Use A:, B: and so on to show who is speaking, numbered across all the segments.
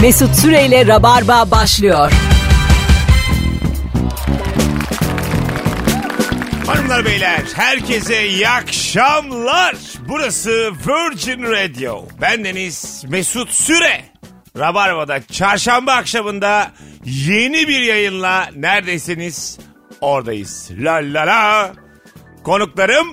A: Mesut Süreyle Rabarba başlıyor.
B: Hanımlar beyler herkese iyi akşamlar. Burası Virgin Radio. Ben Deniz Mesut Süre. Rabarba'da çarşamba akşamında yeni bir yayınla neredeyseniz oradayız. La la la. Konuklarım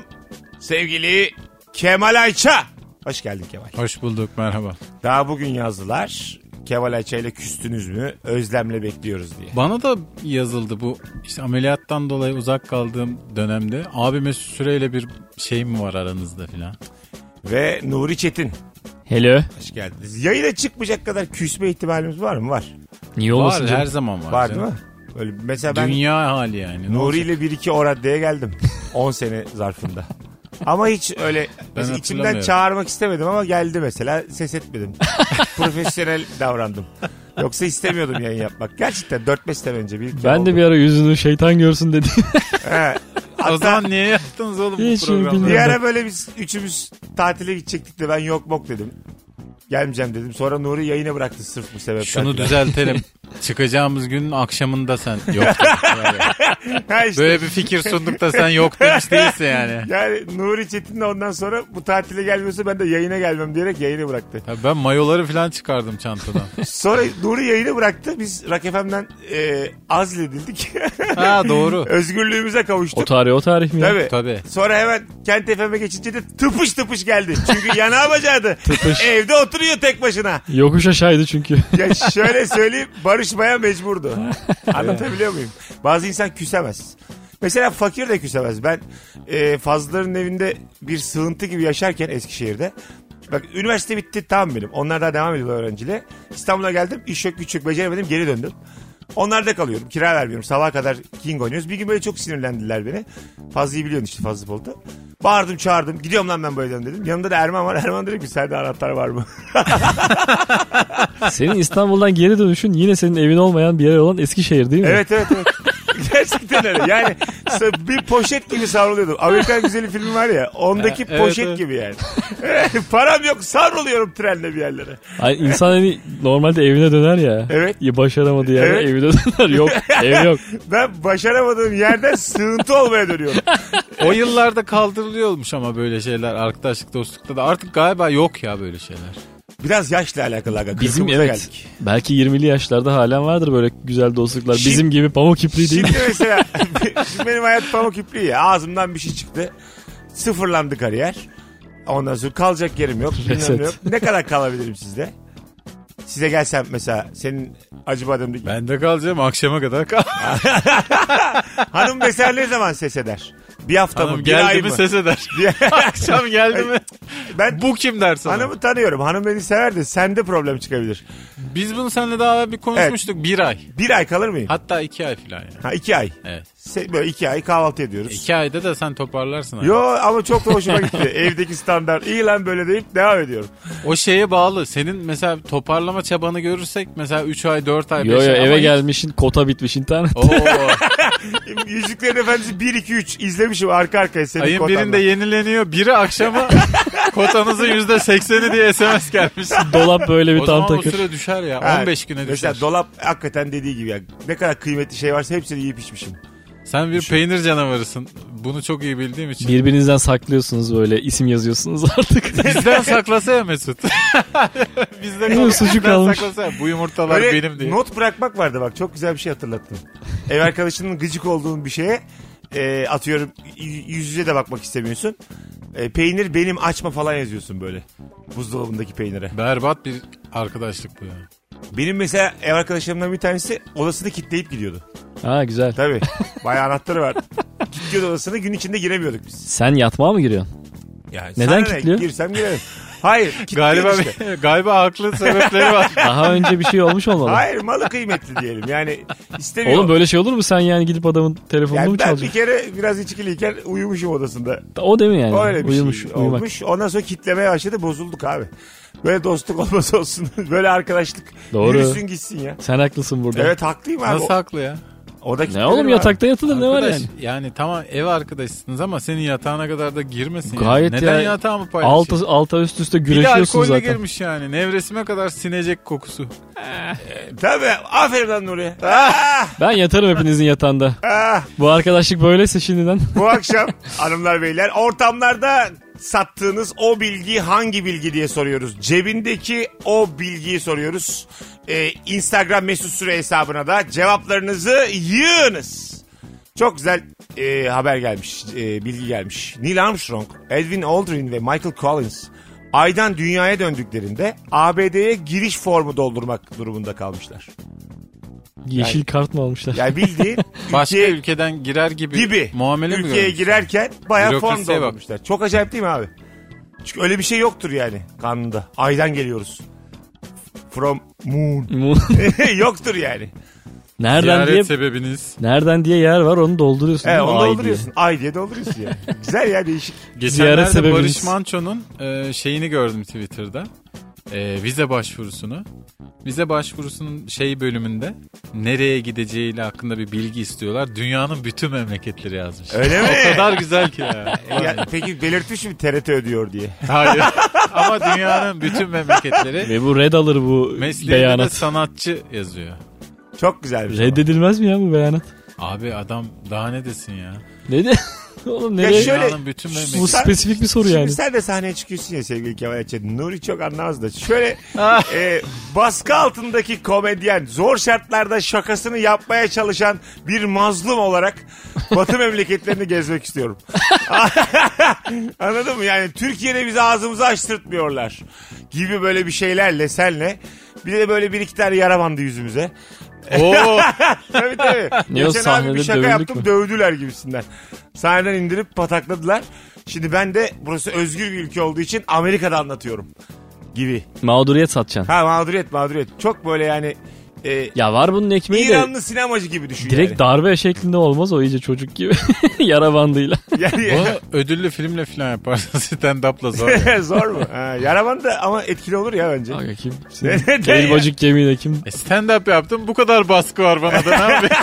B: sevgili Kemal Ayça. Hoş geldin Kemal.
C: Hoş bulduk merhaba.
B: Daha bugün yazdılar. Kemal Ayça ile küstünüz mü? Özlemle bekliyoruz diye.
C: Bana da yazıldı bu işte ameliyattan dolayı uzak kaldığım dönemde abi Mesut Süreyle bir şey mi var aranızda filan.
B: Ve Nuri Çetin.
D: Hello.
B: Hoş geldiniz. Yayına çıkmayacak kadar küsme ihtimalimiz var mı? Var.
D: Niye
C: Var
D: olmasın
C: her
D: canım?
C: zaman var.
B: Var
C: canım.
B: değil mi? Öyle mesela ben
C: Dünya hali yani. Ne
B: Nuri
C: olacak?
B: ile bir iki o raddeye geldim. 10 sene zarfında. Ama hiç öyle mesela içimden
C: hatırlamıyorum.
B: çağırmak istemedim ama geldi mesela ses etmedim. Profesyonel davrandım. Yoksa istemiyordum yayın yapmak. Gerçekten 4-5 sene önce bir iki
D: Ben
B: oldu.
D: de bir ara yüzünü şeytan görsün dedi.
B: He.
C: O zaman niye yaptınız oğlum bu
D: Hiç şey
C: programı?
B: Bir
D: bilmiyorum.
B: ara böyle biz üçümüz tatile gidecektik de ben yok bok dedim. Gelmeyeceğim dedim. Sonra Nuri yayına bıraktı sırf bu sebepten.
C: Şunu
B: filan.
C: düzeltelim. Çıkacağımız günün akşamında sen yoktun.
B: Ha işte.
C: Böyle bir fikir sunduk da sen yok demiş değilsin yani.
B: Yani Nuri Çetin de ondan sonra bu tatile gelmiyorsa ben de yayına gelmem diyerek yayını bıraktı.
C: Ya ben mayoları falan çıkardım çantadan.
B: Sonra Nuri yayını bıraktı. Biz Rock FM'den e, azledildik.
C: Ha doğru.
B: Özgürlüğümüze
D: o
B: kavuştuk.
D: tarih o tarih mi? ya?
B: Tabii.
C: Tabii.
B: Sonra hemen Kent FM'e geçince de tıpış tıpış geldi. Çünkü yanağı bacağıydı. Evde oturuyor tek başına.
D: Yokuş aşağıydı çünkü.
B: Ya şöyle söyleyeyim barışmaya mecburdu. Anlatabiliyor muyum? Bazı insan küsemez. Mesela fakir de küsemez. Ben e, Fazlıların evinde bir sığıntı gibi yaşarken Eskişehir'de. Bak üniversite bitti tam benim. Onlar daha devam ediyor öğrenciliğe. İstanbul'a geldim iş yok güç yok beceremedim geri döndüm. Onlarda kalıyorum. Kira vermiyorum. Sabaha kadar king oynuyoruz. Bir gün böyle çok sinirlendiler beni. Fazlıyı biliyorsun işte Fazlı Polat'ı. Bağırdım çağırdım. Gidiyorum lan ben bu evden dedim. Yanında da Erman var. Erman dedi ki sende anahtar var mı?
D: Senin İstanbul'dan geri dönüşün yine senin evin olmayan bir yer olan Eskişehir değil mi?
B: Evet evet evet. Gerçekten öyle. Yani sa- bir poşet gibi savruluyordum. Amerikan Güzeli filmi var ya. Ondaki
C: evet,
B: poşet
C: evet.
B: gibi yani. Param yok savruluyorum trenle bir yerlere.
D: Ay, insan hani normalde evine döner ya.
B: Evet.
D: Ya başaramadı yani
B: Evet.
D: evine döner. Yok ev yok.
B: Ben başaramadığım yerden sığıntı olmaya dönüyorum.
C: O yıllarda kaldırılıyormuş ama böyle şeyler arkadaşlık dostlukta da artık galiba yok ya böyle şeyler.
B: Biraz yaşla alakalı. Aga.
D: Bizim
B: Kırkımıza
D: evet
B: geldik.
D: belki 20'li yaşlarda halen vardır böyle güzel dostluklar.
B: Şimdi-
D: Bizim gibi pamuk ipliği değil.
B: Şimdi mesela şimdi benim hayat pamuk ipliği ya. Ağzımdan bir şey çıktı. Sıfırlandı kariyer. Ondan sonra kalacak yerim yok. bilmem
D: Reset.
B: ne yok. Ne kadar kalabilirim sizde? Size gelsem mesela senin acı bademdeki
C: Ben de kalacağım akşama kadar kal.
B: Hanım mesela ne zaman ses eder? Bir hafta mı?
C: Hanım
B: Bir ay
C: geldi
B: mı?
C: mi ses eder.
B: Diye-
C: Akşam geldi mi?
B: ben
C: Bu kim der sana?
B: hanımı tanıyorum. Hanım beni sever de sende problem çıkabilir.
C: Biz bunu seninle daha evvel bir konuşmuştuk. Bir ay.
B: Bir ay kalır mıyım?
C: Hatta iki ay falan yani.
B: Ha iki ay.
C: Evet.
B: Se- Böyle iki ay kahvaltı ediyoruz.
C: İki ayda da sen toparlarsın. abi.
B: Yo ama çok da hoşuma gitti. Evdeki standart. İyi lan böyle deyip devam ediyorum.
C: O şeye bağlı. Senin mesela toparlama çabanı görürsek mesela üç ay, dört ay,
D: Yo
C: beş
D: yo
C: ay. ama
D: eve
C: hiç-
D: gelmişin kota bitmiş internet.
C: Oo,
B: Yüzüklerin Efendisi 1-2-3 izlemişim arka arkaya senin
C: ayın
B: kotanla.
C: birinde yenileniyor. Biri akşama kotanızın yüzde sekseni diye SMS gelmiş.
D: Dolap böyle bir
C: o
D: tam
C: zaman o
D: takır.
C: süre düşer ya.
B: Ha,
C: 15 güne düşer.
B: Mesela dolap hakikaten dediği gibi ya. Ne kadar kıymetli şey varsa hepsini yiyip içmişim.
C: Sen bir peynir canavarısın. Bunu çok iyi bildiğim için.
D: Birbirinizden saklıyorsunuz böyle isim yazıyorsunuz artık.
C: Bizden saklasa ya Mesut. Bizden,
D: Değil mi? Sucuk
C: bizden
D: almış.
C: saklasa ya. Bu yumurtalar
B: Böyle
C: benim diye.
B: not bırakmak vardı bak çok güzel bir şey hatırlattın. Ev arkadaşının gıcık olduğun bir şeye e, atıyorum y- yüz yüze de bakmak istemiyorsun. E, peynir benim açma falan yazıyorsun böyle buzdolabındaki peynire.
C: Berbat bir arkadaşlık bu ya.
B: Benim mesela ev arkadaşlarımdan bir tanesi odasını kilitleyip gidiyordu.
D: ha güzel.
B: Tabii bayağı anahtarı var. Kilitliyordu odasını gün içinde giremiyorduk biz.
D: Sen yatmağa mı giriyorsun?
B: Yani
D: Neden
B: sana ne?
D: kilitliyor?
B: Girsem girerim. Hayır kilitliyor
C: Galiba
B: işte.
C: galiba haklı sebepleri var.
D: Daha önce bir şey olmuş olmalı.
B: Hayır malı kıymetli diyelim yani istemiyor.
D: Oğlum böyle şey olur mu sen yani gidip adamın telefonunu
B: yani
D: mu
B: ben bir
D: çalacaksın?
B: kere biraz içkiliyken uyumuşum odasında.
D: O değil mi yani?
B: Öyle bir
D: Uyumuş,
B: şey
D: uyumak.
B: olmuş. Ondan sonra kitlemeye başladı bozulduk abi. Böyle dostluk olmasa olsun. Böyle arkadaşlık.
D: Doğru.
B: Yürüsün gitsin ya.
D: Sen haklısın burada.
B: Evet haklıyım abi.
C: Nasıl haklı ya?
B: O da kitlenir
D: Ne oğlum
B: abi.
D: yatakta yatılır ne var
C: Arkadaş,
D: yani?
C: tamam ev arkadaşısınız ama senin yatağına kadar da girmesin.
D: Gayet
C: yani. Neden
D: ya-
C: yatağımı paylaşayım?
D: Alta, alta üst üste
C: bir de
D: güreşiyorsun
C: alkolle
D: zaten.
C: girmiş yani. Nevresime kadar sinecek kokusu.
B: Tabii. Aferin lan Nuri. Ah,
D: Ben yatarım hepinizin yatağında.
B: ah.
D: Bu arkadaşlık böyleyse şimdiden.
B: Bu akşam hanımlar beyler ortamlarda sattığınız o bilgi hangi bilgi diye soruyoruz. Cebindeki o bilgiyi soruyoruz. Ee, Instagram mesut süre hesabına da cevaplarınızı yığınız. Çok güzel e, haber gelmiş, e, bilgi gelmiş. Neil Armstrong, Edwin Aldrin ve Michael Collins aydan dünyaya döndüklerinde ABD'ye giriş formu doldurmak durumunda kalmışlar.
D: Yeşil kart mı almışlar?
B: Yani bildiğin
C: Başka
B: ülkeye-
C: ülkeden girer gibi,
B: gibi
C: muamele mi
B: ülkeye
C: görmüş?
B: girerken bayağı form
C: Bürokrasiye bak.
B: doldurmuşlar. Çok acayip değil mi abi? Çünkü öyle bir şey yoktur yani kanunda. Aydan geliyoruz. From moon.
D: Mu-
B: yoktur yani.
D: nereden
C: Ziyaret
D: diye
C: sebebiniz
D: nereden diye yer var onu dolduruyorsun.
B: Evet
D: değil mi?
B: onu
D: Ay
B: dolduruyorsun. Ay diye dolduruyorsun yani. Güzel ya değişik.
C: Geçenlerde
D: sebebiniz.
C: Barış Manço'nun e, şeyini gördüm Twitter'da. E, vize başvurusunu. Vize başvurusunun şey bölümünde nereye gideceğiyle hakkında bir bilgi istiyorlar. Dünyanın bütün memleketleri yazmış.
B: Öyle mi?
C: O kadar güzel ki ya.
B: Ya, peki belirtmiş mi TRT ödüyor diye.
C: Hayır. Ama dünyanın bütün memleketleri
D: diye. Ve bu red alır bu
C: Mesleğinde de
D: beyanat.
C: sanatçı yazıyor.
B: Çok şey. güzelmiş. ama.
D: Reddedilmez mi ya bu beyanat?
C: Abi adam daha ne desin ya?
D: Ne de? Oğlum
B: Ya
D: nereye?
B: şöyle-
C: Dünyanın bütün
D: Bu
B: Sen-
D: spesifik bir soru
B: Şimdi
D: yani.
B: sen de sahneye çıkıyorsun ya sevgili Kemal Ayça. Nuri çok anlamaz da. Şöyle e, baskı altındaki komedyen, zor şartlarda şakasını yapmaya çalışan bir mazlum olarak Batı memleketlerini gezmek istiyorum. Anladın mı? Yani Türkiye'de bizi ağzımızı açtırtmıyorlar gibi böyle bir şeylerle senle. Bir de böyle bir iki tane yara bandı yüzümüze.
C: Oo,
B: tabii tabii.
D: Ne o
B: Geçen abi bir
D: sahnede
B: şaka
D: dövüldük
B: yaptım
D: mü?
B: dövdüler gibisinden. Sahneden indirip patakladılar. Şimdi ben de burası özgür bir ülke olduğu için Amerika'da anlatıyorum gibi.
D: Mağduriyet satacaksın.
B: Ha mağduriyet mağduriyet. Çok böyle yani e,
D: Ya var bunun ekmeği de
B: İranlı sinemacı gibi düşün
D: direkt
B: yani.
D: darbe şeklinde olmaz o iyice çocuk gibi. Yara bandıyla.
B: yani
C: bunu ödüllü filmle falan yaparsın. Stand-up'la zor. ya.
B: Zor mu? Ha, yaraman da ama etkili olur ya bence.
D: Aga kim?
B: Ne- ne ya?
D: El bacık gemiyle kim?
C: E stand-up yaptım. Bu kadar baskı var bana da. Ne yapayım?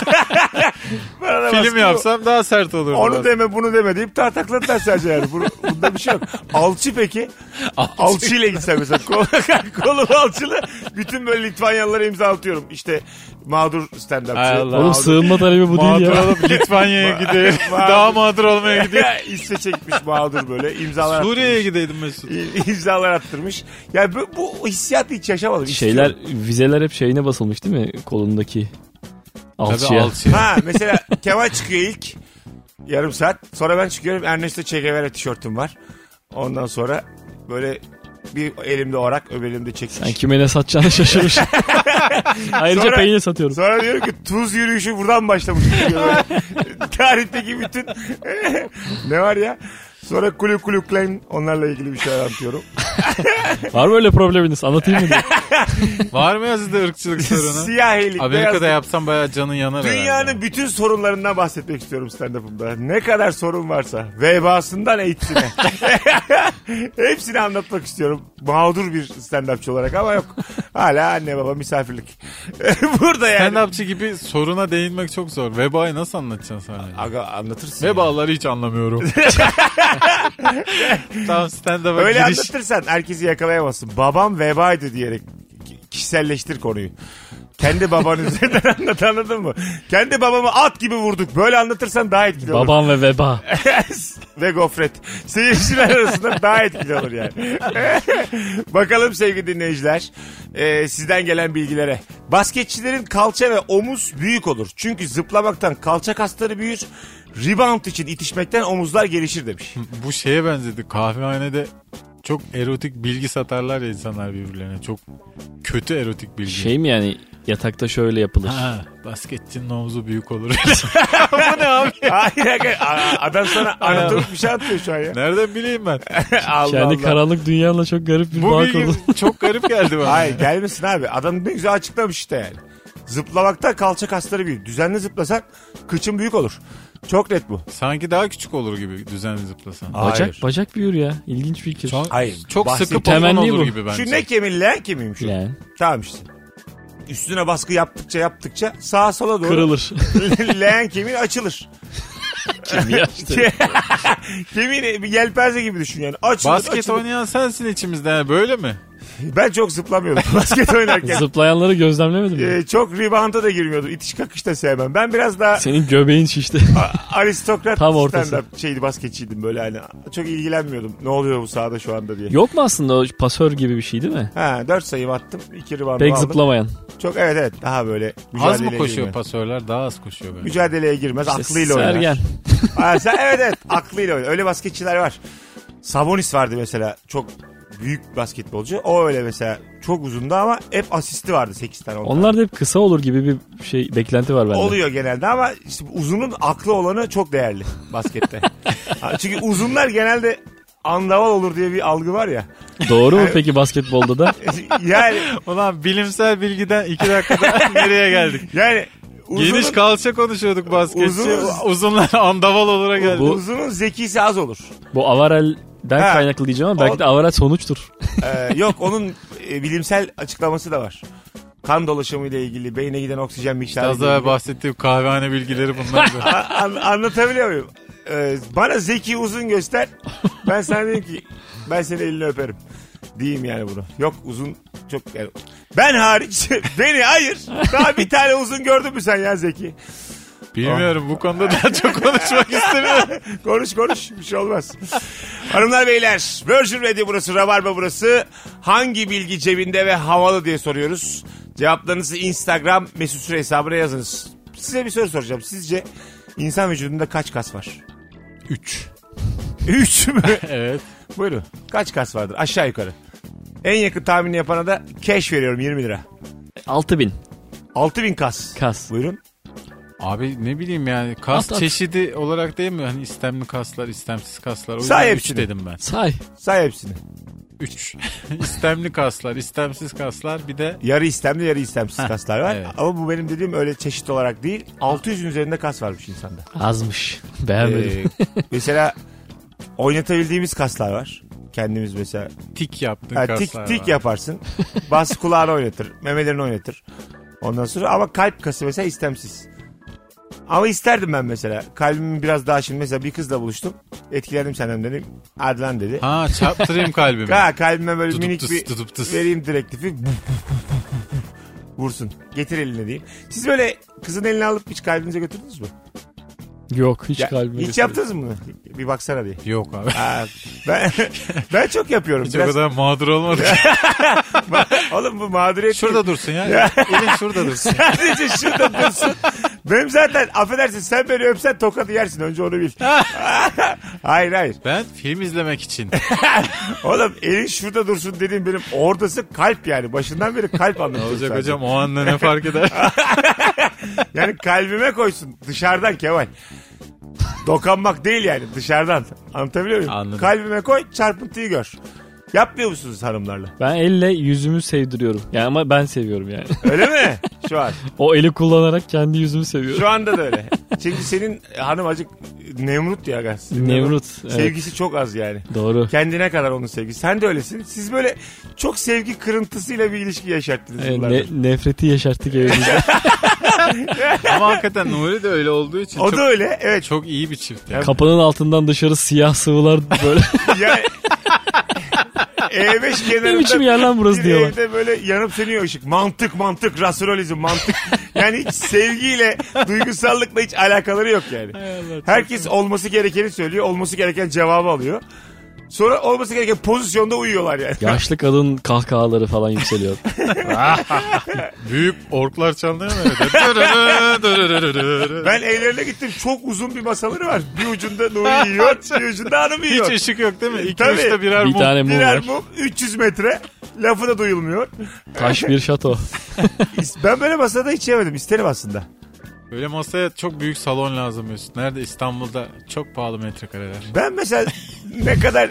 B: Bana da baskı
C: Film
B: bu.
C: yapsam daha sert olurdu.
B: Onu deme bunu deme deyip tartakladılar sadece yani. Bu- bunda bir şey yok. Alçı peki? Alçı ile gitsem mesela. Kol, kolum alçılı. Bütün böyle Litvanyalılara imza atıyorum. İşte mağdur
C: Hay
B: stand-upçı.
C: Allah.
D: Oğlum sığınma talebi bu değil
C: Mağdur
D: ya.
C: olup Litvanya'ya gidiyor.
B: Mağdur.
C: daha mağdur olmaya gidiyor.
B: Ya İsveç'e gitmiş mağdur böyle. İmzalar
C: Suriye'ye gideydim Mesut.
B: attırmış. İmzalar attırmış. Ya bu, bu hissiyatı hiç yaşamadım.
D: Şeyler
B: İstiyorum.
D: vizeler hep şeyine basılmış değil mi? Kolundaki
C: Tabii
D: alçıya.
C: alçıya.
B: Ha mesela Kemal çıkıyor ilk. Yarım saat. Sonra ben çıkıyorum. Ernesto Che Guevara tişörtüm var. Ondan sonra böyle bir elimde orak öbür elimde çekiş.
D: Ben kime ne satacağını şaşırmış. Ayrıca
B: Sonra-
D: peynir satıyorum.
B: Sonra diyorum ki tuz yürüyüşü buradan başlamış. diyor böyle. Tarihteki bütün ne var ya? Sonra kulu kulu klein onlarla ilgili bir şey anlatıyorum.
D: Var mı öyle probleminiz? Anlatayım mı? diye.
C: Var mı ya sizde ırkçılık sorunu?
B: Siyah elik.
C: Amerika'da
B: beyaz-
C: yapsam bayağı canın yanar herhalde.
B: Dünyanın bütün sorunlarından bahsetmek istiyorum stand-up'ımda. Ne kadar sorun varsa. Vebasından eğitimine. Hepsini anlatmak istiyorum. Mağdur bir stand-upçı olarak ama yok. Hala anne baba misafirlik. Burada yani.
C: Stand-upçı gibi soruna değinmek çok zor. Vebayı nasıl anlatacaksın sen?
B: Aga anlatırsın.
C: Vebaları hiç anlamıyorum. Tam stand-up'a
B: Öyle
C: giriş.
B: anlatırsan herkesi yakalayamazsın. Babam vebaydı diyerek ki- kişiselleştir konuyu. Kendi baban üzerinden anlat anladın mı? Kendi babamı at gibi vurduk. Böyle anlatırsan daha etkili olur.
D: Babam ve veba.
B: Ve gofret. Seyirciler arasında daha etkili olur yani. Bakalım sevgili dinleyiciler. e, sizden gelen bilgilere. Basketçilerin kalça ve omuz büyük olur. Çünkü zıplamaktan kalça kasları büyür. Rebound için itişmekten omuzlar gelişir demiş.
C: Bu şeye benzedi. Kahvehanede çok erotik bilgi satarlar ya insanlar birbirlerine. Çok kötü erotik bilgi.
D: Şey mi yani yatakta şöyle yapılır.
C: Ha, basketçinin omuzu büyük olur.
B: Hayır, hayır. A- adam sana anatomik bir şey atıyor şu an ya.
C: Nereden bileyim ben?
B: Allah
D: Kendi
B: Allah.
D: karanlık dünyayla çok garip bir
C: Bu
D: bağ kurdu.
C: bilgi çok garip geldi bana.
B: Hayır gelmesin abi. Adam ne güzel açıklamış işte yani. Zıplamakta kalça kasları büyür. Düzenli zıplasan kıçın büyük olur. Çok net bu.
C: Sanki daha küçük olur gibi düzenli zıplasan.
B: Hayır.
D: Bacak, bacak büyür ya. İlginç bir fikir.
C: Çok,
B: Hayır.
C: çok
B: Bahsettiğim
C: sıkı polon
D: temenni
C: olur
D: bu.
C: gibi bence.
B: Şu ne kemiği leğen kemiği mi şu?
D: Yani.
B: Tamam işte. üstüne baskı yaptıkça yaptıkça sağa sola doğru
D: Kırılır.
B: leğen kemiği açılır.
D: ya işte.
B: Kemiğini bir yelpaze gibi düşün yani. Açılır,
C: Basket
B: açılır.
C: oynayan sensin içimizde ha, böyle mi?
B: Ben çok zıplamıyordum basket oynarken.
D: Zıplayanları gözlemlemedin mi?
B: Ee, çok rebound'a da girmiyordum. İtiş kakış da sevmem. Ben biraz daha
D: Senin göbeğin şişti.
B: aristokrat
D: Tam ortası.
B: stand-up şeydi basketçiydim böyle hani. Çok ilgilenmiyordum. Ne oluyor bu sahada şu anda diye.
D: Yok mu aslında o pasör gibi bir şey değil mi?
B: Ha, 4 sayım attım. 2 rebound
D: Pek
B: aldım.
D: zıplamayan.
B: Çok evet evet daha böyle
C: Az
B: mücadeleye
C: mı koşuyor
B: girmez.
C: pasörler? Daha az koşuyor galiba.
B: Mücadeleye girmez. aklıyla oynar.
D: Sergen.
B: Ha, sen, evet evet aklıyla oynar. Öyle basketçiler var. Sabonis vardı mesela. Çok büyük basketbolcu. O öyle mesela çok uzundu ama hep asisti vardı 8 tane. on tane.
D: Onlar da hep kısa olur gibi bir şey beklenti var bende.
B: Oluyor genelde ama işte uzunun aklı olanı çok değerli baskette. Ha, Çünkü uzunlar genelde andaval olur diye bir algı var ya.
D: Doğru mu peki basketbolda da?
B: Yani
C: Ulan bilimsel bilgiden iki dakikada nereye geldik?
B: yani uzunun,
C: Geniş kalça konuşuyorduk basketçi.
B: Uzun-
C: Uzunlar andaval olarak geldi.
D: Bu-
B: uzunun zekisi az olur.
D: Bu avarelden
B: Ha.
D: kaynaklı diyeceğim ama
B: O-
D: belki de avarel sonuçtur.
B: Ee, yok onun e, bilimsel açıklaması da var. Kan dolaşımı ile ilgili beyne giden oksijen miktarı.
C: Az
B: ile
C: daha
B: ilgili.
C: bahsettiğim kahvehane bilgileri bunlar. da.
B: A- an- anlatabiliyor muyum? Ee, bana zeki uzun göster. Ben sana diyeyim ki ben seni elini öperim. Diyeyim yani bunu. Yok uzun çok yani. Ben hariç beni hayır. Daha bir tane uzun gördün mü sen ya Zeki?
C: Bilmiyorum bu konuda daha çok konuşmak istemiyorum.
B: Konuş konuş bir şey olmaz. Hanımlar beyler Virgin Radio burası Rabarba burası. Hangi bilgi cebinde ve havalı diye soruyoruz. Cevaplarınızı Instagram mesut süre hesabına yazınız. Size bir soru soracağım. Sizce insan vücudunda kaç kas var?
C: Üç.
B: Üç mü?
C: Evet.
B: Buyurun. Kaç kas vardır aşağı yukarı? En yakın tahmini yapana da cash veriyorum 20 lira.
D: 6000
B: 6000 kas.
D: kas.
B: Buyurun.
C: Abi ne bileyim yani kas
D: At, at.
C: çeşidi olarak değil mi? Hani istemli kaslar, istemsiz kaslar. O
B: Say
C: yüzden üç
B: hepsini.
C: dedim ben.
D: Say.
B: Say hepsini.
C: Üç. istemli kaslar, istemsiz kaslar bir de
B: Yarı istemli yarı istemsiz
C: Heh,
B: kaslar var.
C: evet.
B: Ama bu benim dediğim öyle çeşit olarak değil. 600'ün üzerinde kas varmış insanda.
D: Azmış.
C: e,
D: Beğenmedim.
B: Ee, mesela oynatabildiğimiz kaslar var. Kendimiz mesela
C: tik yaptığın
B: ha, tik
C: kaslar
B: tik
C: var.
B: yaparsın. Bas kulağını oynatır. Memelerini oynatır. Ondan sonra ama kalp kası mesela istemsiz. Ama isterdim ben mesela. Kalbimin biraz daha şimdi mesela bir kızla buluştum. Etkilendim senden dedim. Hadi lan dedi.
C: Ha çarptırayım kalbimi.
B: Ha, kalbime böyle
C: Tutup
B: minik
C: tıs,
B: bir
C: tutup tıs.
B: vereyim direktifi. Vursun. Getir eline diyeyim. Siz böyle kızın elini alıp hiç kalbinize götürdünüz mü?
D: Yok hiç
B: Ee, Ya,
D: kalbime.
B: hiç yaptınız mı? bunu? Bir baksana diye.
C: Yok abi.
B: Ha, ben ben çok yapıyorum.
C: Hiç o
B: Biraz-
C: kadar mağdur olmadık.
B: Oğlum bu mağduriyet.
C: şurada dursun ya. Elin şurada dursun.
B: Sadece şurada dursun. Benim zaten affedersin sen beni öpsen tokadı yersin önce onu bil. hayır hayır.
C: Ben film izlemek için.
B: Oğlum elin şurada dursun dediğim benim ordası kalp yani. Başından beri kalp
C: Ne
B: anlatıyorum.
C: olacak
B: sadece.
C: hocam o anda ne fark eder?
B: Yani kalbime koysun dışarıdan Kemal. Dokanmak değil yani dışarıdan. Anlatabiliyor muyum?
C: Anladım.
B: Kalbime koy çarpıntıyı gör. Yapmıyor musunuz hanımlarla?
D: Ben elle yüzümü sevdiriyorum. Yani ama ben seviyorum yani.
B: Öyle mi? Şu an.
D: o eli kullanarak kendi yüzümü seviyorum.
B: Şu anda da öyle. Çünkü senin hanım acık Nemrut ya gaz.
D: Nemrut. Evet,
B: Sevgisi çok az yani.
D: doğru.
B: Kendine kadar onun sevgisi. Sen de öylesin. Siz böyle çok sevgi kırıntısıyla bir ilişki yaşattınız
D: Evet,
B: yıllardır.
D: Ee, ne- nefreti yaşarttık evimizde.
C: Ama hakikaten Nuri de öyle olduğu için
B: O
C: çok,
B: da öyle. Evet.
C: çok iyi bir çift. ya.
D: Kapının altından dışarı siyah sıvılar böyle.
B: Yani... E5
D: ne biçim
B: kenarında
D: yer lan burası
B: bir
D: diyorlar.
B: evde böyle yanıp sönüyor ışık. Mantık mantık rasyonalizm mantık. yani hiç sevgiyle duygusallıkla hiç alakaları yok yani. Herkes olması gerekeni söylüyor. Olması gereken cevabı alıyor. Sonra olması gereken pozisyonda uyuyorlar yani.
D: Yaşlı kadın kahkahaları falan yükseliyor.
C: Büyük orklar çalınıyor mu? Dırırı, dırırırırı.
B: Ben evlerine gittim. Çok uzun bir masaları var. Bir ucunda Nuri yiyor, bir ucunda hanım yiyor.
C: Hiç ışık yok değil mi? İki
B: Tabii.
C: üçte birer
D: bir
C: mum.
D: tane mum
B: Birer
D: var.
B: mum 300 metre. Lafı da duyulmuyor.
D: Taş bir şato.
B: Ben böyle masada hiç yemedim. İsterim aslında.
C: Böyle masaya çok büyük salon lazım Mesut. Nerede? İstanbul'da çok pahalı metrekareler.
B: Ben mesela ne kadar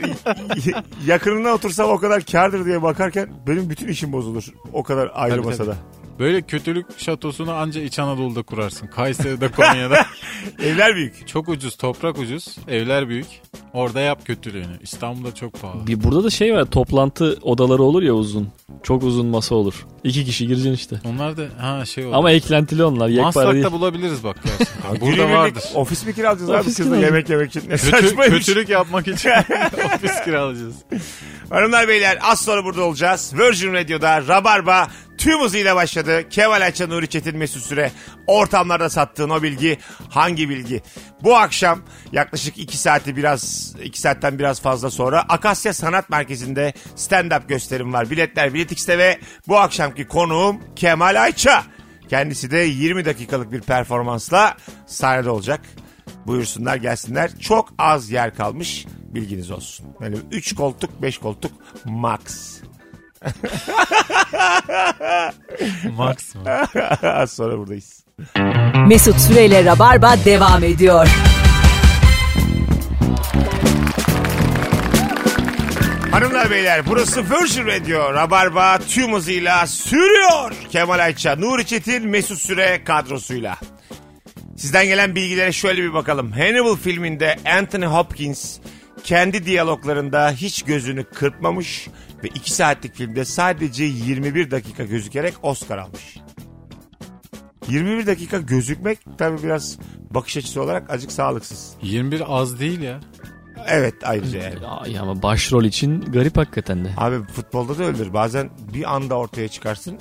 B: yakınına otursam o kadar kardır diye bakarken benim bütün işim bozulur. O kadar ayrı
C: Tabii,
B: masada.
C: Böyle kötülük şatosunu anca İç Anadolu'da kurarsın. Kayseri'de, Konya'da.
B: Evler büyük.
C: çok ucuz, toprak ucuz. Evler büyük. Orada yap kötülüğünü. İstanbul'da çok pahalı.
D: Bir burada da şey var toplantı odaları olur ya uzun. Çok uzun masa olur. İki kişi gireceksin işte.
C: Onlar da ha şey oldu.
D: Ama eklentili onlar. Yekpare değil.
C: Maslak'ta bulabiliriz bak gerçekten.
B: Günü
C: Burada
B: birlik
C: vardır. E,
B: Ofis mi kiralayacağız abi
D: Ofis
B: kızla
D: kiralayacağız.
B: yemek yemek için? Ne
C: Kötü,
B: saçmaymış.
C: kötülük yapmak için ofis kiralayacağız.
B: Hanımlar beyler az sonra burada olacağız. Virgin Radio'da Rabarba tüm hızıyla başladı. Kemal Ayça, Nuri Çetin, Mesut Süre ortamlarda sattığın o bilgi hangi bilgi? Bu akşam yaklaşık 2 saati biraz 2 saatten biraz fazla sonra Akasya Sanat Merkezi'nde stand-up gösterim var. Biletler Bilet X'te ve bu akşamki konuğum Kemal Ayça. Kendisi de 20 dakikalık bir performansla sahnede olacak. Buyursunlar gelsinler. Çok az yer kalmış. Bilginiz olsun. Böyle 3 koltuk 5 koltuk max.
C: Max mı?
B: Az sonra buradayız.
A: Mesut Süreyle Rabarba devam ediyor.
B: Hanımlar beyler burası Virgin Radio. Rabarba tüm hızıyla sürüyor. Kemal Ayça, Nuri Çetin, Mesut Süre kadrosuyla. Sizden gelen bilgilere şöyle bir bakalım. Hannibal filminde Anthony Hopkins kendi diyaloglarında hiç gözünü kırpmamış ve 2 saatlik filmde sadece 21 dakika gözükerek Oscar almış. 21 dakika gözükmek tabii biraz bakış açısı olarak acık sağlıksız.
C: 21 az değil ya.
B: Evet ayrıca yani.
D: Ya, ya ama başrol için garip hakikaten de.
B: Abi futbolda da öyledir. Bazen bir anda ortaya çıkarsın.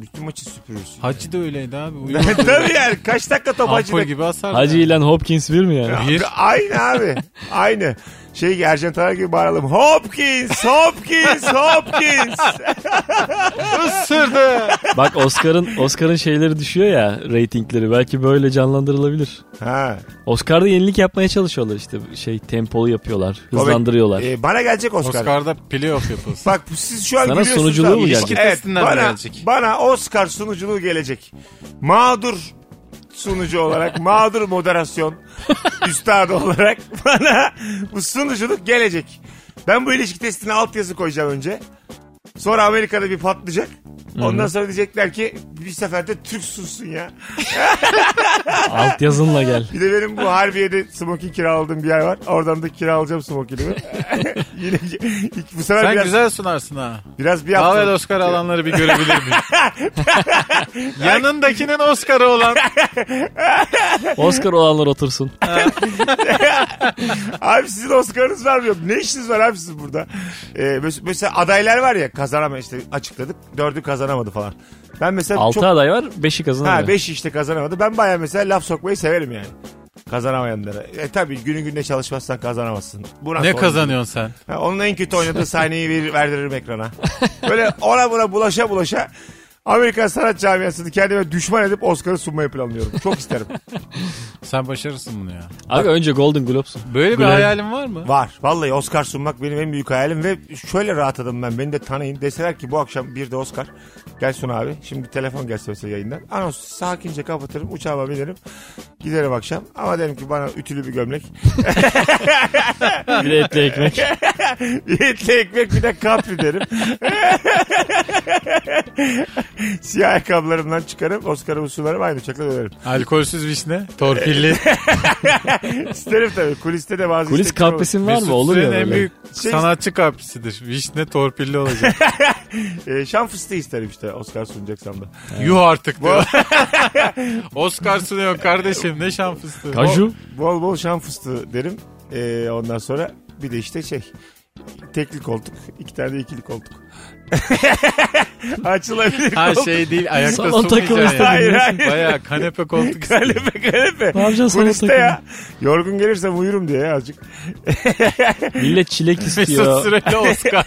B: Bütün maçı süpürürsün.
C: Hacı da öyleydi abi. Uyuyor.
B: Tabii yani kaç dakika top
C: Ampul
B: hacıda.
C: gibi asar.
D: Hacı ile Hopkins bir mi yani?
C: Bir.
B: Aynı abi. Aynı. Şey gibi, Ercan Taner gibi bağıralım. Hopkins, Hopkins, Hopkins.
C: Isırdı.
D: Bak Oscar'ın Oscar'ın şeyleri düşüyor ya reytingleri. Belki böyle canlandırılabilir.
B: ha.
D: Oscar'da yenilik yapmaya çalışıyorlar işte. Şey tempolu yapıyorlar. Hızlandırıyorlar.
B: Ee, bana gelecek Oscar.
C: Oscar'da playoff yapılsın.
B: Bak siz şu an
D: Sana
B: gülüyorsunuz
D: sunuculuğu
B: abi.
D: mu
C: gelecek? İlişki
B: Evet,
C: testinden mi
B: bana,
C: gelecek?
B: bana Oscar sunuculuğu gelecek. Mağdur sunucu olarak, mağdur moderasyon üstadı olarak bana bu sunuculuk gelecek. Ben bu ilişki testine altyazı koyacağım önce. Sonra Amerika'da bir patlayacak. Ondan sonra diyecekler ki bir seferde Türk sunsun ya.
D: Alt yazınla gel.
B: Bir de benim bu Harbiye'de smoking kiraladığım bir yer var. Oradan da kiralayacağım smokingimi. Yine bu sefer
C: Sen
B: biraz,
C: güzel sunarsın ha.
B: biraz bir
C: Pavel
B: hafta.
C: Oscar alanları bir görebilir miyim? Yanındakinin Oscar'ı olan.
D: Oscar olanlar otursun.
B: Abi sizin Oscar'ınız var mı yok? Ne işiniz var abi sizin burada? Ee, mes- mesela adaylar var ya kazanama işte açıkladık. Dördü kazanamadı falan. Ben mesela
D: Altı
B: çok...
D: aday var. Beşi kazanıyor.
B: Ha beş işte kazanamadı. Ben baya mesela laf sokmayı severim yani. Kazanamayanlara. E tabii günü gününe çalışmazsan kazanamazsın. Buna
C: ne
B: sorun değil.
C: kazanıyorsun sen?
B: Ha, onun en kötü oynadığı sahneyi verir, verdiririm ekrana. Böyle ona buna bulaşa bulaşa Amerika Sanat Camiası'nı kendime düşman edip Oscar'ı sunmayı planlıyorum. Çok isterim.
C: Sen başarırsın bunu ya.
D: Abi önce Golden Globes'un.
C: Böyle bir
D: Gülen-
C: hayalin var mı?
B: Var. Vallahi Oscar sunmak benim en büyük hayalim ve şöyle rahatladım ben. Beni de tanıyın. Deseler ki bu akşam bir de Oscar. Gel sun abi. Şimdi bir telefon gelse mesela yayından. Anons sakince kapatırım. Uçağıma binerim. Giderim akşam. Ama derim ki bana ütülü bir gömlek.
D: Bir de etli ekmek.
B: bir etli ekmek bir de kapri derim. Siyah ayakkabılarımdan çıkarım. Oscar'ımı sunarım. Aynı uçakla dönerim.
C: Alkolsüz vişne, torpilli.
B: İsterim tabii. Kuliste de bazı
D: Kulis
B: isteklerim olur.
D: kahvesin var
C: Mesut
D: mı? Olur ya
C: Süren'in en
D: böyle.
C: büyük
B: Şey-
C: sanatçı kapsisidir. Vişne torpilli olacak.
B: Ee, şan fıstığı isterim işte Oscar sunacaksam da.
C: Yuh artık diyor. Oscar sunuyor kardeşim ne şan fıstığı.
D: Kaju.
B: Bol bol şan fıstığı derim. Ee, ondan sonra bir de işte şey tekli koltuk. iki tane de ikili koltuk. Açılabilir
C: Ha
B: koltuk.
C: şey değil ayakta
D: Salon takımı
C: sunmayacaksın.
D: istedim.
B: Hayır, hayır.
C: Baya kanepe koltuk istedim.
B: Kanepe kanepe.
D: Ne yapacaksın sana
B: Kuliste ya. Yorgun gelirsem uyurum diye ya azıcık.
D: Millet çilek
C: Mesut
D: istiyor.
C: Süren'le Oscar.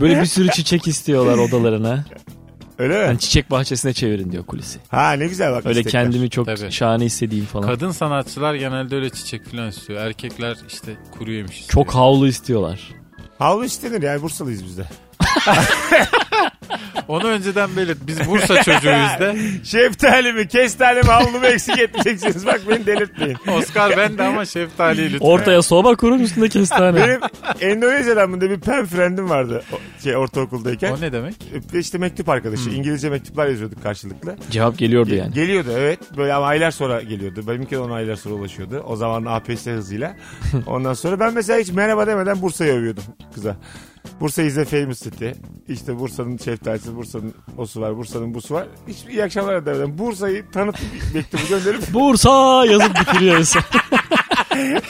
D: Böyle bir sürü çiçek istiyorlar odalarına.
B: Öyle mi?
D: Yani çiçek bahçesine çevirin diyor kulisi.
B: Ha ne güzel bak.
D: Öyle
B: istekler.
D: kendimi çok
C: Tabii.
D: şahane istediğim falan.
C: Kadın sanatçılar genelde öyle çiçek falan istiyor. Erkekler işte kuru yemiş istiyor.
D: Çok havlu istiyorlar.
B: Havlu istenir yani Bursalıyız biz de.
C: Onu önceden belirt. Biz Bursa çocuğuyuz de.
B: Şeftali mi, kestane mi, havlu mu eksik etmeyeceksiniz. Bak beni delirtmeyin.
C: Oscar ben de ama şeftali lütfen.
D: Ortaya soba kurun üstünde kestane.
B: Benim Endonezya'dan bir pen friendim vardı o- şey, ortaokuldayken.
C: O ne demek?
B: İşte işte mektup arkadaşı.
D: Hmm.
B: İngilizce mektuplar yazıyorduk karşılıklı.
D: Cevap geliyordu yani.
B: Geliyordu evet. Böyle ama aylar sonra geliyordu. Benimki de ona aylar sonra ulaşıyordu. O zaman APS hızıyla. Ondan sonra ben mesela hiç merhaba demeden Bursa'yı övüyordum kıza. Bursa is a famous city. İşte Bursa'nın şeftalisi, Bursa'nın osu var, Bursa'nın busu var. Hiç iyi akşamlar demeden Bursa'yı tanıtıp mektubu gönderip
D: Bursa yazıp bitiriyor insan.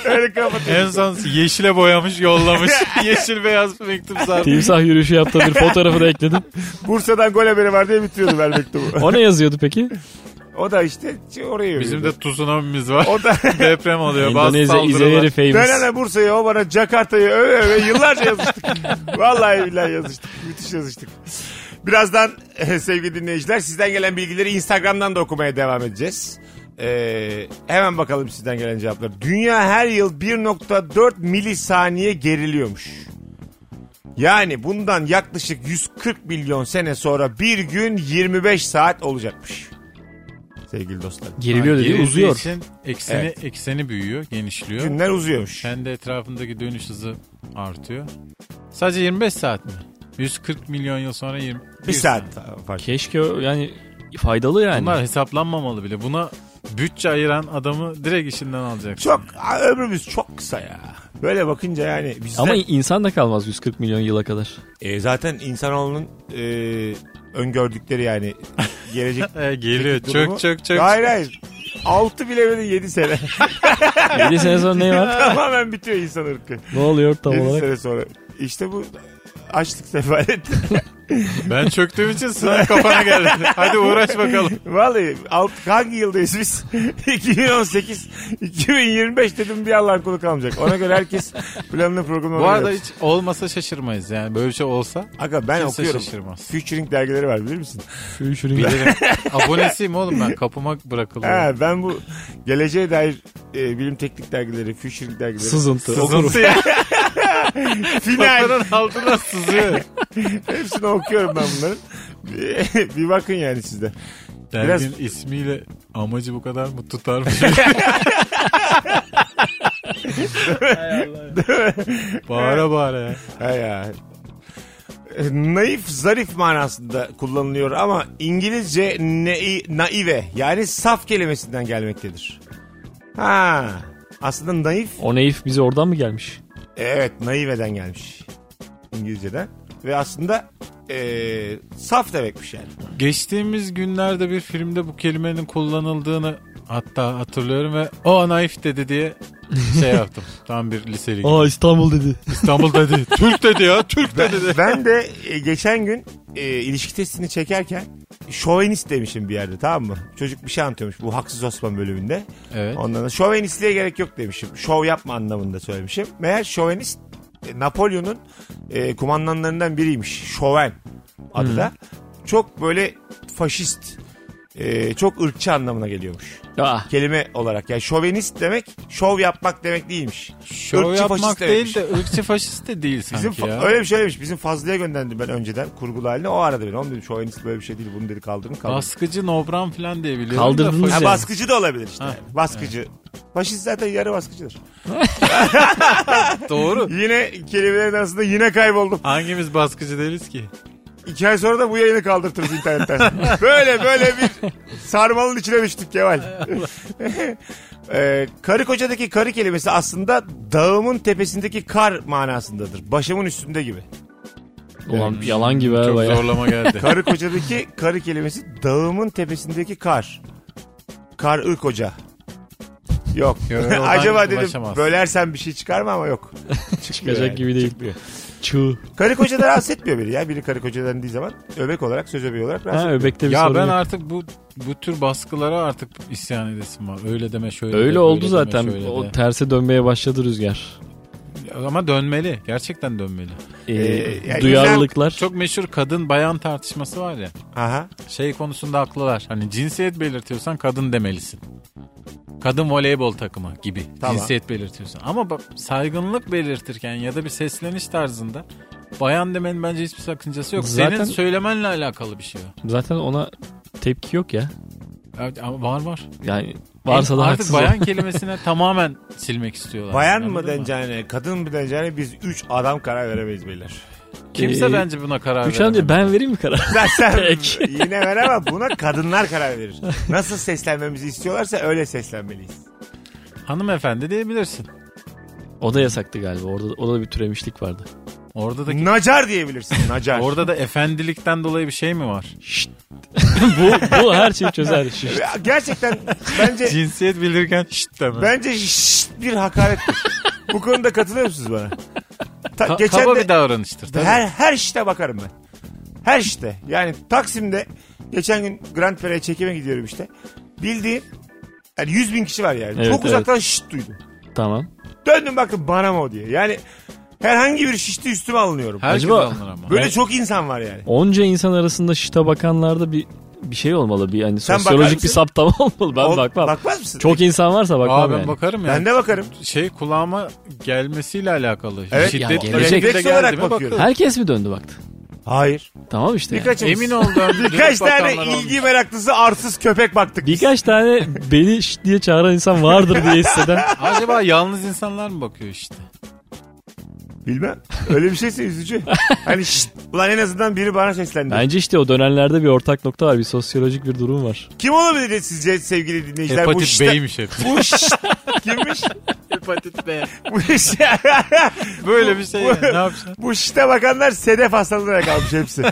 B: öyle kapatıyordum.
C: En son yeşile boyamış yollamış. Yeşil beyaz bir mektup zaten.
D: Timsah yürüyüşü yaptığı bir fotoğrafı da ekledim.
B: Bursa'dan gol haberi var diye bitiriyordum ben mektubu.
D: O ne yazıyordu peki?
B: o da işte orayı övüyordu.
C: Bizim de tsunami'miz var.
B: o da
C: Deprem oluyor. Ee, Bazı
D: İndonezya
C: saldırılar.
D: İzeyeri famous.
B: Dönene Bursa'ya o bana Jakarta'yı öve öve yıllarca yazıştık. Vallahi billahi yazıştık. Müthiş yazıştık. Birazdan eh, sevgili dinleyiciler sizden gelen bilgileri Instagram'dan da okumaya devam edeceğiz. Ee, hemen bakalım sizden gelen cevaplar. Dünya her yıl 1.4 milisaniye geriliyormuş. Yani bundan yaklaşık 140 milyon sene sonra bir gün 25 saat olacakmış. Sevgili dostlar.
D: Geriliyor dedi
C: Gerildiği
D: uzuyor.
C: için ekseni,
B: Evet.
C: ekseni büyüyor, genişliyor.
B: Günler uzuyormuş.
C: Kendi etrafındaki dönüş hızı artıyor. Sadece 25 saat mi? 140 milyon yıl sonra 20.
B: Bir saat Hani- fark.
D: Keşke o- yani faydalı yani.
C: Bunlar hesaplanmamalı bile. Buna bütçe ayıran adamı direkt işinden alacak.
B: Çok ömrümüz çok kısa ya. Böyle bakınca yani bizden
D: Ama insan da kalmaz 140 milyon yıla kadar.
B: E, zaten insanoğlunun e, öngördükleri yani gelecek
C: E, geliyor.
B: durumu-
C: Çok çok çok.
B: Hayır hayır. 6 bile böyle 7 sene.
D: 7 sene sonra ne var?
B: Tamamen bitiyor insan ırkı.
D: Ne oluyor tam
B: 7
D: olarak?
B: sene sonra. İşte bu açlık sefalet.
C: Ben çöktüğüm için sınav kafana geldi. Hadi uğraş bakalım.
B: Vallahi alt, hangi yıldayız biz? 2018, 2025 dedim bir Allah'ın kulu kalmayacak. Ona göre herkes planını programını
C: Bu arada
B: yapsın.
C: hiç olmasa şaşırmayız yani. Böyle bir şey olsa
B: Aga ben
C: kimse
B: okuyorum.
C: şaşırmaz.
B: Featuring dergileri var bilir misin?
D: Şu şurayı-
C: bilirim. Abonesiyim oğlum ben. Kapıma bırakılıyor.
B: Ha, ben bu geleceğe dair e, bilim teknik dergileri, future dergileri.
D: Sızıntı.
C: Sızıntı ya.
B: Final.
C: Kapının altına sızıyor.
B: Hepsini okuyorum ben bunların. Bir- bir bakın yani sizde. Biraz-
C: Dergin ismiyle amacı bu kadar mı tutar mı? bağıra bağıra ya.
B: Ha ya. E, Naif, zarif manasında kullanılıyor ama İngilizce nei- naive yani saf kelimesinden gelmektedir. Ha. Aslında naif
D: O neif bize oradan mı gelmiş?
B: Evet naiveden gelmiş İngilizceden. Ve aslında e, saf demekmiş yani.
C: Geçtiğimiz günlerde bir filmde bu kelimenin kullanıldığını hatta hatırlıyorum ve o naif dedi diye şey yaptım. Tam bir liseli gibi.
D: Aa İstanbul dedi.
C: İstanbul dedi. Türk dedi ya. Türk dedi. dedi.
B: Ben de e, geçen gün e, ilişki testini çekerken şovenist demişim bir yerde tamam mı? Çocuk bir şey anlatıyormuş bu Haksız Osman bölümünde.
C: Evet.
B: Ondan sonra şovenistliğe gerek yok demişim. Şov yapma anlamında söylemişim. Meğer şovenist e, Napolyon'un e, kumandanlarından biriymiş. Şoven adı da. Çok böyle faşist, e, çok ırkçı anlamına geliyormuş.
D: Aa,
B: Kelime olarak. Yani şovenist demek şov yapmak demek değilmiş.
C: Şov
B: Irkçı
C: yapmak
B: faşist
C: değil
B: demekmiş.
C: de ırkçı faşist de değil
B: Bizim
C: sanki
B: fa-
C: ya.
B: öyle bir şey demiş. Bizim Fazlı'ya gönderdim ben önceden kurgulu haline. O aradı beni. Oğlum dedim şovenist böyle bir şey değil. Bunu dedi kaldırın kaldırın.
C: Baskıcı nobran falan diye biliyorum.
D: Kaldırdınız
C: da
B: ha,
C: faşist-
D: ya.
B: baskıcı da olabilir işte.
C: Ha.
B: yani. Baskıcı. Faşist zaten yarı baskıcıdır.
C: Doğru.
B: Yine kelimelerin arasında yine kayboldum.
C: Hangimiz baskıcı değiliz ki?
B: İki ay sonra da bu yayını kaldırtırız internetten. böyle böyle bir sarmalın içine düştük Kemal. ee, karı kocadaki karı kelimesi aslında dağımın tepesindeki kar manasındadır. Başımın üstünde gibi.
D: ulan yalan gibi ha
C: Çok
D: baya.
C: zorlama geldi.
B: Karı kocadaki karı kelimesi dağımın tepesindeki kar. Kar ırk koca. Yok.
C: Yok, oradan
B: Acaba dedim
C: ulaşamaz.
B: bölersen bir şey çıkar mı ama yok.
D: Çıkacak gibi değil. Çığ.
B: Karı kocadan rahatsız etmiyor beni ya. Biri karı koca dendiği zaman öbek olarak söz öbeği olarak rahatsız
D: Ha öbekte bir
C: Ya
D: sorun
C: ben
D: yok.
C: artık bu bu tür baskılara artık isyan edesim var. Öyle deme şöyle. de,
D: Öyle
C: böyle
D: oldu
C: deme,
D: zaten.
C: şöyle de.
D: O terse dönmeye başladı rüzgar.
C: Ama dönmeli. Gerçekten dönmeli.
D: Ee,
B: Ee, yani
D: duyarlılıklar.
C: Çok meşhur kadın bayan tartışması var ya.
B: Aha.
C: Şey konusunda haklılar. Hani cinsiyet belirtiyorsan kadın demelisin. Kadın voleybol takımı gibi
B: Tamam.
C: cinsiyet belirtiyorsun. Ama bak saygınlık belirtirken ya da bir sesleniş tarzında Bayan demenin bence hiçbir sakıncası yok.
D: Zaten-
C: Senin söylemenle alakalı bir şey o.
D: Zaten ona tepki yok ya.
C: Evet, ama var var.
D: Yani varsa da
C: Artık
D: haksız.
C: bayan kelimesine tamamen silmek istiyorlar.
B: Bayan
C: Anladın
B: mı deneceğine, kadın mı deneceğine biz 3 adam karar veremeyiz beyler.
C: Kimse
D: Ee,
C: bence buna karar
D: Üç an
C: veremez.
D: diye ben vereyim mi karar?
B: Sen, sen
D: Peki.
B: yine ver ama buna kadınlar karar verir. Nasıl seslenmemizi istiyorlarsa öyle seslenmeliyiz.
C: Hanımefendi diyebilirsin.
D: O da yasaktı galiba. Orada, orada bir türemişlik vardı.
C: Orada da
B: Nacar diyebilirsin, nacar.
C: orada da efendilikten dolayı bir şey mi var?
D: bu, bu her şeyi çözer. Şiş.
B: Ya Gerçekten bence
C: Cinsiyet bildirirken şşt deme.
B: bence şşt bir hakarettir. Bu konuda katılıyor musunuz bana? Ta-
C: Ka-
B: geçen
C: kaba
B: de-
C: bir davranıştır. Tabii.
B: Her her işte bakarım ben. Her işte. Yani Taksim'de geçen gün Grand Prix'e çekime gidiyorum işte. Bildiğin yani 100 bin kişi var yani.
D: Evet,
B: Çok uzaktan şşt duydum.
D: Tamam.
B: Döndüm baktım bana mı o diye. Yani herhangi bir şişti üstüme alınıyorum.
C: Herkes
D: Acaba-
C: alınır ama.
B: Böyle
D: Ben-
B: çok insan var yani.
D: Onca insan arasında şita bakanlarda bir bir şey olmalı. Bir hani
B: Sen bakar
D: sosyolojik
B: mısın?
D: bir saptama olmalı. Ben
B: Ol-
D: bakmam.
B: Bakmaz mısın? E,
D: Çok insan varsa bakmam
C: Aa, ben
D: yani.
C: bakarım ya.
B: Ben de bakarım.
C: Şey kulağıma gelmesiyle alakalı.
B: Evet,
D: yani
C: Şiddet
D: gelecek-
B: Refleks olarak bakıyorum.
D: Herkes mi döndü baktı?
B: Hayır.
D: Tamam işte. yani.
B: Birkaç
C: Emin ol döndü.
B: Birkaç
C: Dönüp
B: tane
C: bakanlar olmuş.
B: ilgi meraklısı arsız köpek baktık. biz.
D: Birkaç tane beni şşt diye çağıran insan vardır diye hisseden.
C: Acaba yalnız insanlar mı bakıyor işte?
B: Bilmem. Öyle bir şeyse üzücü. hani şşt. Ulan en azından biri bana seslendi.
D: Bence işte o dönenlerde bir ortak nokta var. Bir sosyolojik bir durum var.
B: Kim olabilir sizce sevgili dinleyiciler? bu
C: Hepatit
B: şşte-
C: B'ymiş hep.
B: Bu şşt. Kimmiş?
C: Hepatit B.
B: Bu şşt.
C: Böyle bir şey.
B: Bu-
C: yani. Ne yapacaksın?
B: Bu şişte bakanlar sedef hastalığına kalmış hepsi.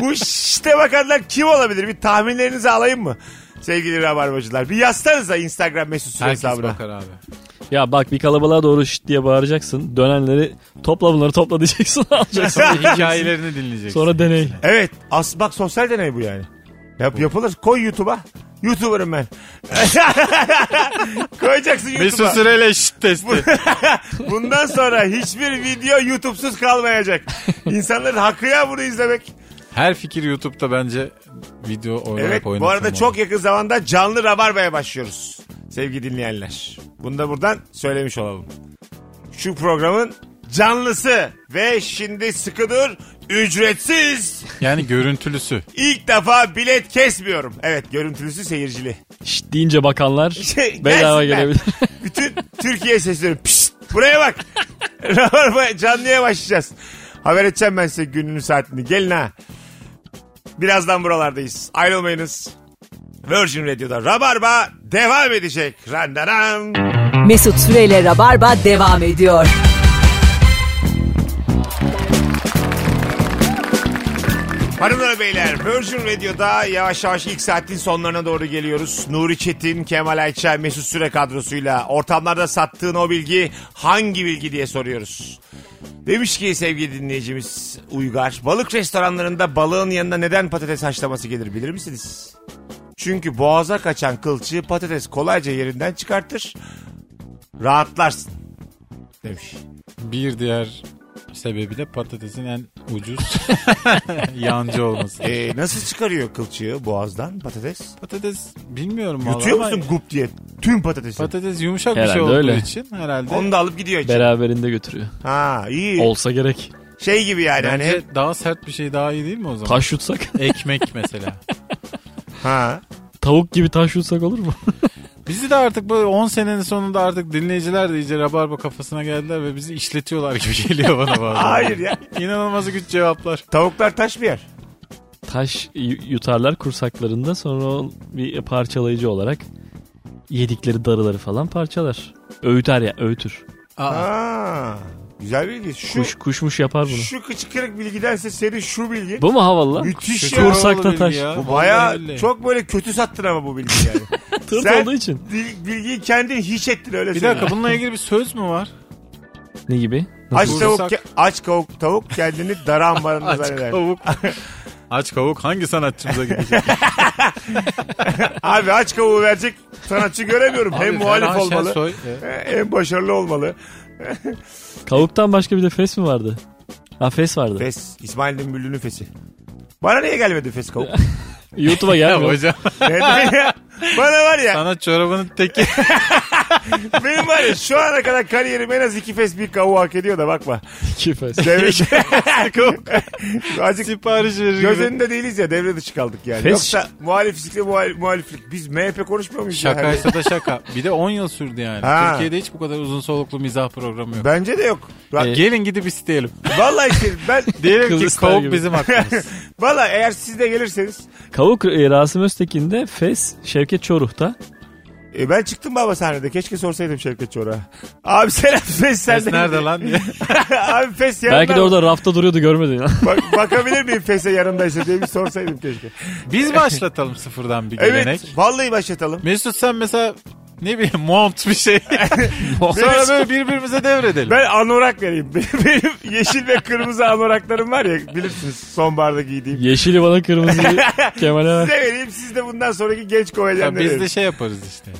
B: Bu şişte bakanlar kim olabilir? Bir tahminlerinizi alayım mı? Sevgili rabarbacılar. Bir yazsanıza Instagram mesut süre
C: Herkes
B: hesabına.
C: bakar abi.
D: Ya bak bir kalabalığa doğru şşt diye bağıracaksın. Dönenleri topla bunları topla diyeceksin. alacaksın.
C: Sonra hikayelerini dinleyeceksin.
D: Sonra deney.
B: Evet. As, bak sosyal deney bu yani. Yap, yapılır. Koy YouTube'a. YouTuber'ım ben. Koyacaksın
C: Mesut
B: YouTube'a.
C: Süreyle şşt testi.
B: Bundan sonra hiçbir video YouTube'suz kalmayacak. İnsanların hakkı ya bunu izlemek.
C: Her fikir YouTube'da bence video olarak
B: Evet bu arada çok yakın zamanda canlı rabarbaya başlıyoruz. Sevgili dinleyenler. Bunu da buradan söylemiş olalım. Şu programın canlısı ve şimdi sıkıdır ücretsiz.
C: Yani görüntülüsü.
B: İlk defa bilet kesmiyorum. Evet görüntülüsü seyircili.
D: Şşt deyince bakanlar
B: Şey,
D: bedava
B: gelsinler.
D: gelebilir.
B: Bütün Türkiye sesleniyor. Pişt, buraya bak. Rabarba canlıya başlayacağız. Haber edeceğim ben size gününü saatini. Gelin ha. Birazdan buralardayız. Ayrılmayınız. Virgin Radio'da Rabarba devam edecek. Randaran.
A: Mesut Süreyle Rabarba devam ediyor.
B: Hanımlar beyler Virgin Radio'da yavaş yavaş ilk saatin sonlarına doğru geliyoruz. Nuri Çetin, Kemal Ayça, Mesut Süre kadrosuyla ortamlarda sattığın o bilgi hangi bilgi diye soruyoruz. Demiş ki sevgili dinleyicimiz Uygar, balık restoranlarında balığın yanına neden patates haşlaması gelir bilir misiniz? Çünkü boğaza kaçan kılçığı patates kolayca yerinden çıkartır, rahatlarsın demiş.
C: Bir diğer sebebi de patatesin en ucuz yancı olması.
B: Ee, nasıl çıkarıyor kılçığı boğazdan patates?
C: patates bilmiyorum vallahi
B: Yutuyor
C: ama
B: musun gup diye tüm patatesi?
C: Patates yumuşak bir
D: Herhalde
C: şey olduğu
D: öyle.
C: için herhalde.
B: Onu da alıp gidiyor içeri.
D: Beraberinde götürüyor.
B: Ha iyi.
D: Olsa gerek.
B: Şey gibi yani.
C: Bence
B: Hani,
C: daha sert bir şey daha iyi değil mi o zaman?
D: Taş yutsak.
C: Ekmek mesela.
B: ha.
D: Tavuk gibi taş yutsak olur mu?
C: Bizi de artık böyle 10 senenin sonunda artık dinleyiciler de iyice rabarba kafasına geldiler ve bizi işletiyorlar gibi geliyor bana bazen.
B: Hayır ya.
C: İnanılmaz güç cevaplar.
B: Tavuklar taş bir yer.
D: Taş y- yutarlar kursaklarında sonra o bir parçalayıcı olarak yedikleri darıları falan parçalar. Öğüter ya öğütür.
C: Aa,
B: Ha. Güzel bilgi. Şu,
D: Kuş kuşmuş yapar bunu.
B: şu kıçı kırık bilgidense senin şu bilgi.
D: Bu mu havalı lan?
B: müthiş ya.
D: Kursak- Kursakta
C: Havalı bilgi
D: taş.
C: ya.
B: Bu baya
C: Vallahi billahi.
B: çok böyle kötü sattın ama bu bilgi yani.
D: Tırt
B: Sen-
D: olduğu için.
B: Bil- Bilgiyi kendin hiç ettin öyle
C: Bir
B: söyleyeyim.
C: dakika bununla ilgili bir söz mü var?
D: Ne gibi?
B: Aç
C: Kursak-
B: tavuk, ke- aç kavuk tavuk kendini dar ambarında
C: Aç
B: zanneder.
C: kavuk. Aç kavuk hangi sanatçımıza gidecek?
B: Abi aç kavuğu verecek sanatçı göremiyorum. hem
C: Abi,
B: muhalif
C: Ferhan
B: olmalı.
C: Şensoy, e,
B: Hem başarılı olmalı.
D: Kavuktan başka bir de fes mi vardı? Ha fes vardı.
B: Fes. İsmail'in büllünün fesi. Bana niye gelmedi fes kavuk?
D: YouTube'a
C: Ya
D: gelmiyor.
C: hocam
B: Neden ya? Bana var ya
C: Sana çorabının teki.
B: benim var ya şu ana kadar kariyerim en az iki fes bir kavuğu hak ediyor da bakma.
D: Küfes.
B: Devre Azıcık
C: Sipariş verir
B: göz
C: gibi.
B: önünde değiliz ya devre dışı kaldık yani.
D: Fes-
B: Yoksa muhaliflikle muhalif, muhaliflik. Biz MHP konuşmuyor muyuz? ya?
C: Şakaysa da şaka. Bir de 10 yıl sürdü yani.
B: Ha.
C: Türkiye'de hiç bu kadar uzun soluklu mizah programı yok. Ee,
B: Bence de yok. Bak,
C: Gelin gidip isteyelim.
B: Vallahi işte ben
C: Diyelim ki
D: Kıbrıslar
C: kavuk
D: gibi.
C: bizim hakkımız.
B: Vallahi eğer siz de gelirseniz
D: Kavuk e, Rasim Öztekin'de Fes, Şevket Çoruh'ta.
B: e, ben çıktım baba sahnede. Keşke sorsaydım Şevket Çor'a. Abi selam Fes sen
C: Ses nerede lan diye.
B: Abi Fes yanında.
D: Belki de orada rafta duruyordu görmedin ya.
B: Bak- bakabilir miyim Fes'e yanındaysa diye bir sorsaydım keşke.
C: Biz başlatalım sıfırdan bir
B: Evet
C: gelenek.
B: vallahi başlatalım.
C: Mesut sen mesela ne bileyim mont bir şey. Sonra böyle birbirimize devredelim.
B: Ben anorak vereyim. Benim yeşil ve kırmızı anoraklarım var ya bilirsiniz sonbaharda giydiğim.
D: Yeşili bana kırmızıyı Kemal'e ver.
B: Size vereyim siz de bundan sonraki genç
C: Ya
B: komedyenlere
C: biz
B: verin.
C: de şey yaparız işte.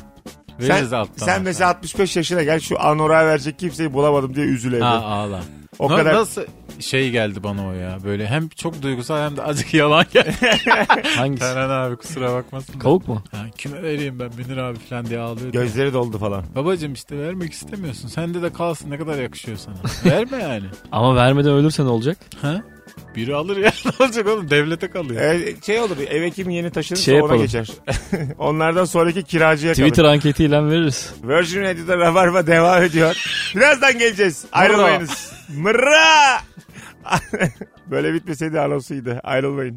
B: sen,
C: Veririz alttan.
B: sen
C: alttan.
B: mesela 65 yaşına gel şu anorağı verecek kimseyi bulamadım diye
C: Ha
B: üzülebilir.
C: ağla.
B: O
C: Na-
B: kadar
C: Nasıl şey geldi bana o ya böyle hem çok duygusal hem de azıcık yalan geldi.
D: Hangisi?
C: Teren abi kusura bakmasın. da.
D: Kavuk mu?
C: Ha, kime vereyim ben Münir abi falan diye ağlıyor.
B: gözleri doldu falan.
C: Babacım işte vermek istemiyorsun. Sende de kalsın ne kadar yakışıyor sana. Verme yani.
D: Ama vermeden ölürsen olacak.
C: Ha? Biri alır ya ne olacak oğlum devlete kalıyor.
B: Ee, şey olur eve kim yeni taşınırsa
D: Şey
B: ona
D: yapalım.
B: geçer. Onlardan sonraki kiracıya
D: Twitter
B: kalır.
D: anketiyle veririz.
B: Virgin Radio'da Rabarba devam ediyor. Birazdan geleceğiz. Ayrılmayınız. Mırra. Böyle bitmeseydi anonsuydu. Ayrılmayın.